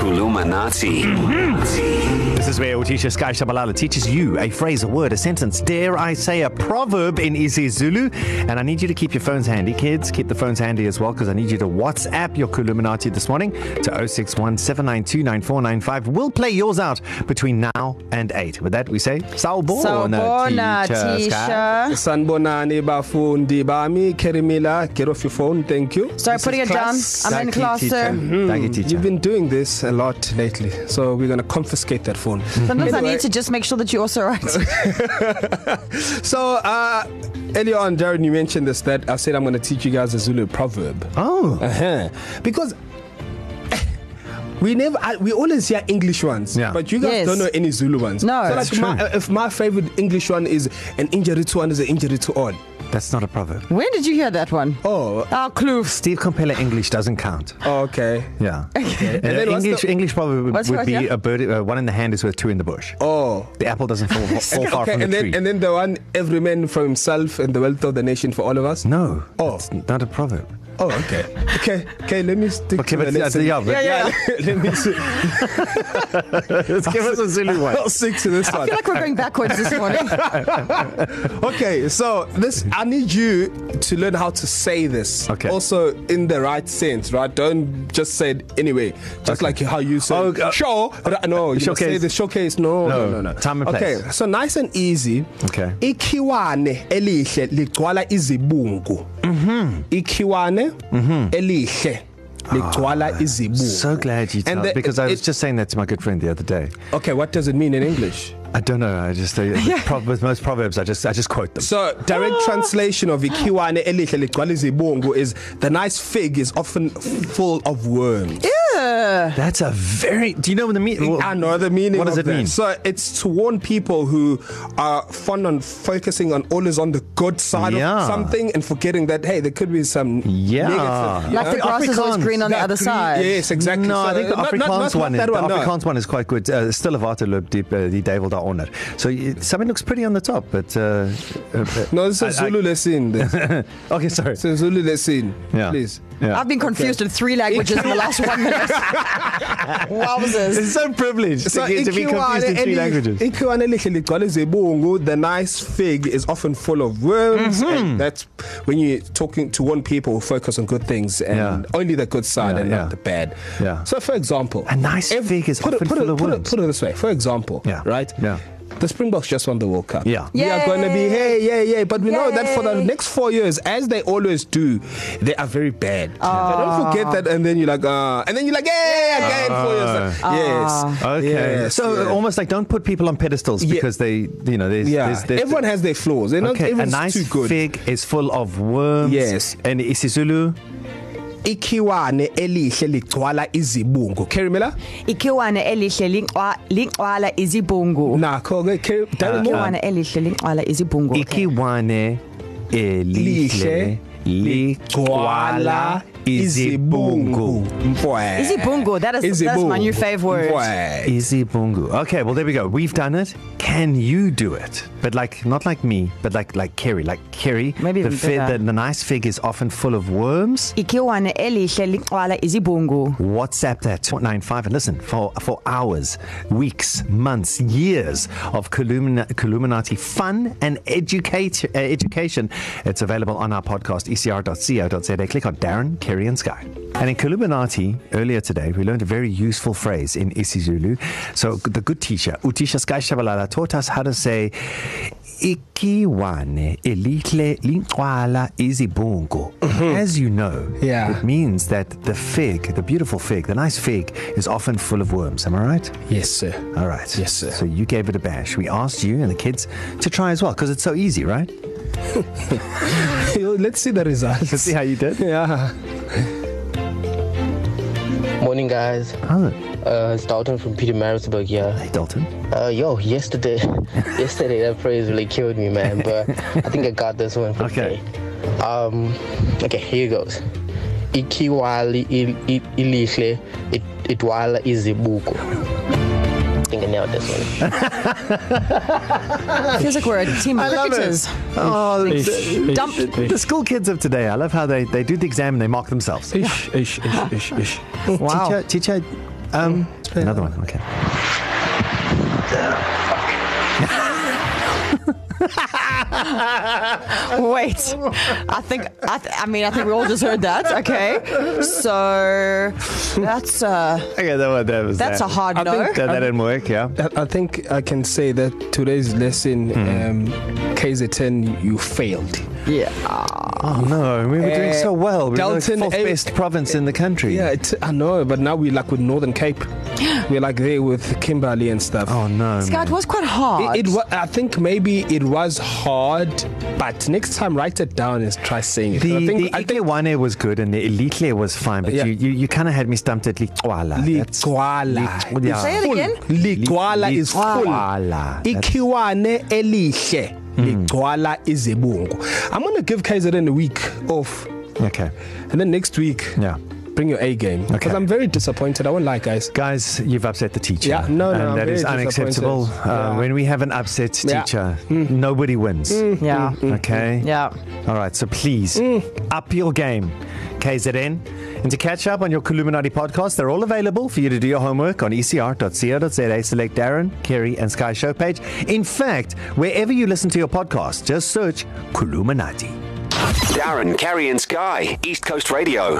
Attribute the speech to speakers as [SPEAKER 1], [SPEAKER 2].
[SPEAKER 1] Illuminati.
[SPEAKER 2] This is where our teacher Sky Shabalala teaches you a phrase, a word, a sentence, dare I say a proverb in isiZulu. And I need you to keep your phones handy, kids. Keep the phones handy as well, because I need you to WhatsApp your Kuluminati this morning to 061 792 9495. We'll play yours out between now and 8. With that, we say, Sawbona,
[SPEAKER 3] Sawubona,
[SPEAKER 2] teacher Sky.
[SPEAKER 3] Tisha.
[SPEAKER 4] Sanbonani bafundi bami Kerimila get off your phone thank you.
[SPEAKER 3] Sorry,
[SPEAKER 4] This
[SPEAKER 3] putting
[SPEAKER 4] is
[SPEAKER 3] it down.
[SPEAKER 4] class.
[SPEAKER 3] I'm in class, sir.
[SPEAKER 2] Thank you,
[SPEAKER 4] Hmm. You've
[SPEAKER 2] teacher.
[SPEAKER 4] been doing this a lot lately so we're going to confiscate that phone.
[SPEAKER 3] Sometimes I
[SPEAKER 4] Anyway.
[SPEAKER 3] need to just make sure that you're also right.
[SPEAKER 4] so uh earlier on Darren you mentioned this that I said I'm going to teach you guys a Zulu proverb.
[SPEAKER 2] Oh.
[SPEAKER 4] Uh-huh. Because we never I, we always hear English ones,
[SPEAKER 2] Yeah.
[SPEAKER 4] but you guys
[SPEAKER 3] Yes.
[SPEAKER 4] yes. don't know any Zulu ones.
[SPEAKER 3] No.
[SPEAKER 4] so
[SPEAKER 3] That's
[SPEAKER 4] like my, uh, if my favorite English one is an injury to one is an injury to all.
[SPEAKER 2] That's not a proverb.
[SPEAKER 3] When did you hear that one? Ah,
[SPEAKER 4] Oh,
[SPEAKER 3] Our clues.
[SPEAKER 2] Steve Compella English doesn't count.
[SPEAKER 4] okay.
[SPEAKER 2] Yeah. Okay. And
[SPEAKER 4] then
[SPEAKER 2] then
[SPEAKER 4] what's
[SPEAKER 2] English, the,
[SPEAKER 4] the-
[SPEAKER 2] English proverb would,
[SPEAKER 3] What's
[SPEAKER 2] would
[SPEAKER 3] what,
[SPEAKER 2] be
[SPEAKER 3] yeah?
[SPEAKER 2] a bird, uh, one in the hand is worth two in the bush.
[SPEAKER 4] Oh.
[SPEAKER 2] The apple doesn't fall, fall far
[SPEAKER 4] okay,
[SPEAKER 2] from the
[SPEAKER 4] and
[SPEAKER 2] tree.
[SPEAKER 4] then and then the one every man for himself and the wealth of the nation for all of us.
[SPEAKER 2] No,
[SPEAKER 4] Oh.
[SPEAKER 2] it's not a proverb.
[SPEAKER 4] Oh, okay. okay, okay. Let me stick
[SPEAKER 2] Okay,
[SPEAKER 4] to
[SPEAKER 2] but
[SPEAKER 4] the
[SPEAKER 2] yeah,
[SPEAKER 4] lesson.
[SPEAKER 2] yeah, but yeah,
[SPEAKER 4] yeah. let me see.
[SPEAKER 2] let's give us a Zulu one.
[SPEAKER 4] I'll stick to this
[SPEAKER 3] I
[SPEAKER 4] one.
[SPEAKER 3] feel like we're going backwards this morning.
[SPEAKER 4] Okay, so this I need you to learn how to say this.
[SPEAKER 2] Okay.
[SPEAKER 4] Also in the right sense, right? Don't just say it anyway. Just okay. like how you say
[SPEAKER 2] Oh, uh,
[SPEAKER 4] show. Uh, no, you showcase.
[SPEAKER 2] showcase.
[SPEAKER 4] say the showcase. No,
[SPEAKER 2] No,
[SPEAKER 4] no, no, no.
[SPEAKER 2] time and
[SPEAKER 4] okay,
[SPEAKER 2] place.
[SPEAKER 4] so nice and easy.
[SPEAKER 2] Okay.
[SPEAKER 4] Ikhiwane elihle ligcwala izibungu.
[SPEAKER 2] Mm-hmm.
[SPEAKER 4] Mhm. Ikhiwane elihle ligcwala izibungu.
[SPEAKER 2] Ah, So glad you
[SPEAKER 4] And
[SPEAKER 2] told
[SPEAKER 4] the-
[SPEAKER 2] because I was
[SPEAKER 4] it-
[SPEAKER 2] just saying that to my good friend the other day.
[SPEAKER 4] Okay, what does it mean in English?
[SPEAKER 2] I don't know. I just uh, pro- with most proverbs, I just I just quote them.
[SPEAKER 4] So direct
[SPEAKER 2] Ah.
[SPEAKER 4] translation of ikhiwane elihle ligcwala izibungu is the nice fig is often full of worms.
[SPEAKER 2] That's a very. Do you know what the mean?
[SPEAKER 4] I know the meaning.
[SPEAKER 2] What does
[SPEAKER 4] of
[SPEAKER 2] it
[SPEAKER 4] that.
[SPEAKER 2] mean?
[SPEAKER 4] So it's to warn people who are fond on focusing on always on the good side yeah.
[SPEAKER 2] Yeah.
[SPEAKER 4] of something and forgetting that hey, there could be some
[SPEAKER 2] Yeah.
[SPEAKER 4] negative. you
[SPEAKER 3] Like
[SPEAKER 4] know?
[SPEAKER 3] the grass is always
[SPEAKER 2] Afrikaans.
[SPEAKER 3] green on the
[SPEAKER 4] Like
[SPEAKER 3] other
[SPEAKER 4] green-
[SPEAKER 3] side.
[SPEAKER 4] Yes, exactly.
[SPEAKER 2] No,
[SPEAKER 4] so,
[SPEAKER 2] I think the
[SPEAKER 4] not-
[SPEAKER 2] Afrikaans
[SPEAKER 4] not, not,
[SPEAKER 2] one,
[SPEAKER 4] Not
[SPEAKER 2] is,
[SPEAKER 4] that
[SPEAKER 2] the
[SPEAKER 4] one.
[SPEAKER 2] Afrikaans
[SPEAKER 4] no.
[SPEAKER 2] one is quite good. Uh, Stille water loop diep, uh, die duivel daaronder. So it, something looks pretty on the top, but uh, uh,
[SPEAKER 4] No, it's a Zulu lesson. this.
[SPEAKER 2] okay, sorry.
[SPEAKER 4] It's a Zulu lesson.
[SPEAKER 2] Yeah.
[SPEAKER 4] Please.
[SPEAKER 2] Yeah.
[SPEAKER 3] I've been confused okay. in three languages in the last one minute. Wowzers.
[SPEAKER 2] It's so privileged so to, get, to be confused in three languages.
[SPEAKER 4] Ikhiwane elihle ligcwala izibungu, the nice fig is often full of worms. Mm-hmm. And that's when you're talking to one people, focus on good things and
[SPEAKER 2] Yeah.
[SPEAKER 4] yeah. only the good side
[SPEAKER 2] Yeah,
[SPEAKER 4] yeah, and yeah.
[SPEAKER 2] yeah.
[SPEAKER 4] not the bad.
[SPEAKER 2] Yeah.
[SPEAKER 4] So, for example,
[SPEAKER 2] A nice
[SPEAKER 4] ev-
[SPEAKER 2] fig is
[SPEAKER 4] put
[SPEAKER 2] often
[SPEAKER 4] it, put
[SPEAKER 2] full
[SPEAKER 4] it,
[SPEAKER 2] of
[SPEAKER 4] put
[SPEAKER 2] worms.
[SPEAKER 4] It, put it this way. For example,
[SPEAKER 2] Yeah.
[SPEAKER 4] right?
[SPEAKER 2] Yeah.
[SPEAKER 4] The Springboks just won the World Cup.
[SPEAKER 2] Yeah.
[SPEAKER 4] We are going to be,
[SPEAKER 3] Yay.
[SPEAKER 4] hey, yeah, yeah. But we Yay. know that for the
[SPEAKER 3] Yay.
[SPEAKER 4] next four years, as they always do, they are very bad. Uh. So don't forget that. And then you're like, uh, and then you're like, yeah, yeah, yeah, again, uh. four years. Uh. Yes.
[SPEAKER 2] Okay,
[SPEAKER 4] Yes,
[SPEAKER 2] so
[SPEAKER 4] yes.
[SPEAKER 2] yeah. almost like don't put people on pedestals
[SPEAKER 4] Yeah.
[SPEAKER 2] because they, you know, there's,
[SPEAKER 4] Yeah,
[SPEAKER 2] there's, there's
[SPEAKER 4] everyone has their flaws. They're okay,
[SPEAKER 2] Okay, a
[SPEAKER 4] not everyone's
[SPEAKER 2] nice
[SPEAKER 4] too good.
[SPEAKER 2] fig is full of worms.
[SPEAKER 4] Yes.
[SPEAKER 2] and isiZulu.
[SPEAKER 4] Ikhiwane elihle ligcwala izibungu. Kerimela?
[SPEAKER 3] Ikhiwane elihle lingcwa lingcwala izibungu.
[SPEAKER 4] Nakho ke Keri- Darren Moore?
[SPEAKER 3] Ikhiwane elihle lingcwala izibungu.
[SPEAKER 2] Ikiwane elihle
[SPEAKER 4] lihle
[SPEAKER 2] ligcwala izibungu.
[SPEAKER 4] Mfwe.
[SPEAKER 3] Izibungu, that is- that's my new fave word.
[SPEAKER 4] Mfwe.
[SPEAKER 2] Izibungu. Okay, well there we go. We've done it. Can you do it? But like not like me, but like like Kerry, like Kerry.
[SPEAKER 3] Maybe
[SPEAKER 2] the,
[SPEAKER 3] even
[SPEAKER 2] fi-
[SPEAKER 3] better.
[SPEAKER 2] the, the nice fig is often full of worms.
[SPEAKER 3] Ikhiwane elihle lingcwala izibungu.
[SPEAKER 2] WhatsApp that 95 and listen for for hours, weeks, months, years of Columna- Columinati fun and educate, uh, education. It's available on our podcast, E ecr.co.za. Click on Darren, Kerry, and Sky. And in Columinati, earlier today, we learned a very useful phrase in isiZulu. So the good teacher, Utisha Sky Shabalala, taught us how to say ikiwane elihle linqwala izibungu. As you know,
[SPEAKER 4] Yeah.
[SPEAKER 2] it means that the fig, the beautiful fig, the nice fig, is often full of worms. Am I right?
[SPEAKER 4] Yes, sir.
[SPEAKER 2] All right.
[SPEAKER 4] Yes, sir.
[SPEAKER 2] So you gave it a bash. We asked you and the kids to try as well because it's so easy, right?
[SPEAKER 4] Let's see the results.
[SPEAKER 2] Let's see how you did.
[SPEAKER 4] Yeah.
[SPEAKER 5] Morning, guys.
[SPEAKER 2] Oh,
[SPEAKER 5] Uh, it's Dalton from Peter Marisburg here.
[SPEAKER 2] hey, Dalton.
[SPEAKER 5] Uh, yo, yesterday, yesterday that phrase really killed me, man. But I think I got this one for
[SPEAKER 2] Okay.
[SPEAKER 5] today. Um, okay, here it goes. Ikiwali il- il- ilihle it- itwala izibuko. I think I nailed this one.
[SPEAKER 3] Feels like we're a team of cricketers.
[SPEAKER 2] Oh,
[SPEAKER 6] Ish,
[SPEAKER 2] the,
[SPEAKER 6] ish,
[SPEAKER 2] dump.
[SPEAKER 6] ish.
[SPEAKER 2] the school kids of today. I love how they, they do the exam and they mark themselves.
[SPEAKER 6] Ish, ish, ish, ish, ish.
[SPEAKER 3] Wow.
[SPEAKER 2] Teacher, teacher um,
[SPEAKER 4] Let's play
[SPEAKER 2] Another one. Okay.
[SPEAKER 3] Wait, I think I, th- I mean I think we all just heard that. Okay, so that's uh,
[SPEAKER 2] Okay, that, one- that was
[SPEAKER 3] That's
[SPEAKER 2] that.
[SPEAKER 3] a hard
[SPEAKER 2] I
[SPEAKER 3] no.
[SPEAKER 2] Think that, that didn't work. Yeah.
[SPEAKER 4] I I think I can say that today's lesson, mm. um, KZ10, you failed.
[SPEAKER 3] yeah.
[SPEAKER 2] Oh no, we were doing
[SPEAKER 4] Uh,
[SPEAKER 2] so well. We
[SPEAKER 4] Dalton,
[SPEAKER 2] were the fourth
[SPEAKER 4] eh,
[SPEAKER 2] best province in the country.
[SPEAKER 4] Yeah, it, I know, but now we're like with Northern Cape. we're like there with Kimberley and stuff.
[SPEAKER 2] Oh no.
[SPEAKER 3] Sky, it was quite hard.
[SPEAKER 4] It, it wa- I think maybe it was hard, but next time write it down and try saying it.
[SPEAKER 2] The,
[SPEAKER 4] I think,
[SPEAKER 2] the
[SPEAKER 4] I think
[SPEAKER 2] Iklewane was good and the Elitle was fine, but yeah.
[SPEAKER 4] Yeah.
[SPEAKER 2] you, you, you kind of had me stumped at Likwala. That's-
[SPEAKER 4] Ligwala.
[SPEAKER 2] Li- yeah.
[SPEAKER 3] Say it
[SPEAKER 4] full.
[SPEAKER 3] again?
[SPEAKER 4] Ligwala is full. E
[SPEAKER 2] Ligwala. That's-
[SPEAKER 4] Ikhiwane elihle.
[SPEAKER 2] Hmm.
[SPEAKER 4] Ligwala izebungu. I'm going to give KZN a week off,
[SPEAKER 2] Okay.
[SPEAKER 4] and then next week,
[SPEAKER 2] Yeah.
[SPEAKER 4] bring your A game. Because
[SPEAKER 2] Okay.
[SPEAKER 4] I'm very disappointed. I won't lie, guys.
[SPEAKER 2] Guys, you've upset the teacher.
[SPEAKER 4] Yeah, no, no,
[SPEAKER 2] And
[SPEAKER 4] I'm
[SPEAKER 2] that
[SPEAKER 4] very
[SPEAKER 2] is unacceptable. Uh,
[SPEAKER 4] disappointed.
[SPEAKER 2] yeah.
[SPEAKER 4] Yeah.
[SPEAKER 2] When we have an upset
[SPEAKER 4] Yeah.
[SPEAKER 2] teacher, mm. nobody wins. Mm.
[SPEAKER 3] yeah,
[SPEAKER 2] Okay?
[SPEAKER 3] yeah.
[SPEAKER 2] All right, so please mm. up your game, KZN. And to catch up on your Columinati podcast, they're all available for you to do your homework on E ecr.co.za. Select Darren, Kerry, and Sky Show page. In fact, wherever you listen to your podcast, just search Columinati.
[SPEAKER 1] Darren, Kerry, and Sky, East Coast Radio.